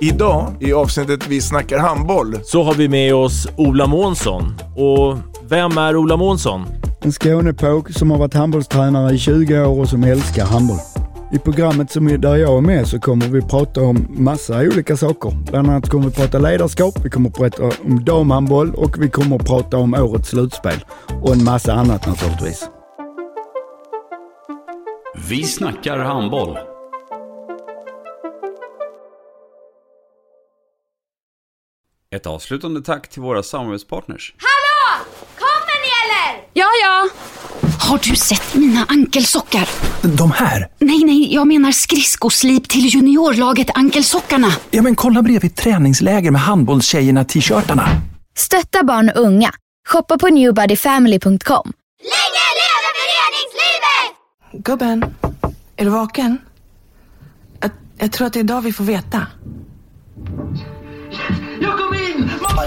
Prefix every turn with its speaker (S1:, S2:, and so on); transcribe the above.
S1: Idag i avsnittet Vi snackar handboll.
S2: så har vi med oss Ola Månsson. Och vem är Ola Månsson?
S3: En Skånepåg som har varit handbollstränare i 20 år och som älskar handboll. I programmet som är där jag är med så kommer vi prata om massa olika saker. Bland annat kommer vi prata ledarskap, vi kommer prata om damhandboll och vi kommer prata om årets slutspel. Och en massa annat naturligtvis.
S4: Vi snackar handboll. Ett avslutande tack till våra samarbetspartners.
S5: Hallå! Kommer ni eller?
S6: Ja, ja. Har du sett mina ankelsockar?
S7: De här?
S6: Nej, nej, jag menar skridskoslip till juniorlaget Ankelsockarna.
S7: Ja, men kolla bredvid träningsläger med handbollstjejerna-t-shirtarna.
S8: Stötta barn och unga. Shoppa på newbodyfamily.com.
S5: Länge leve föreningslivet!
S9: Gubben, är du vaken? Jag, jag tror att det är idag vi får veta.
S10: Jag kom in! Mamma,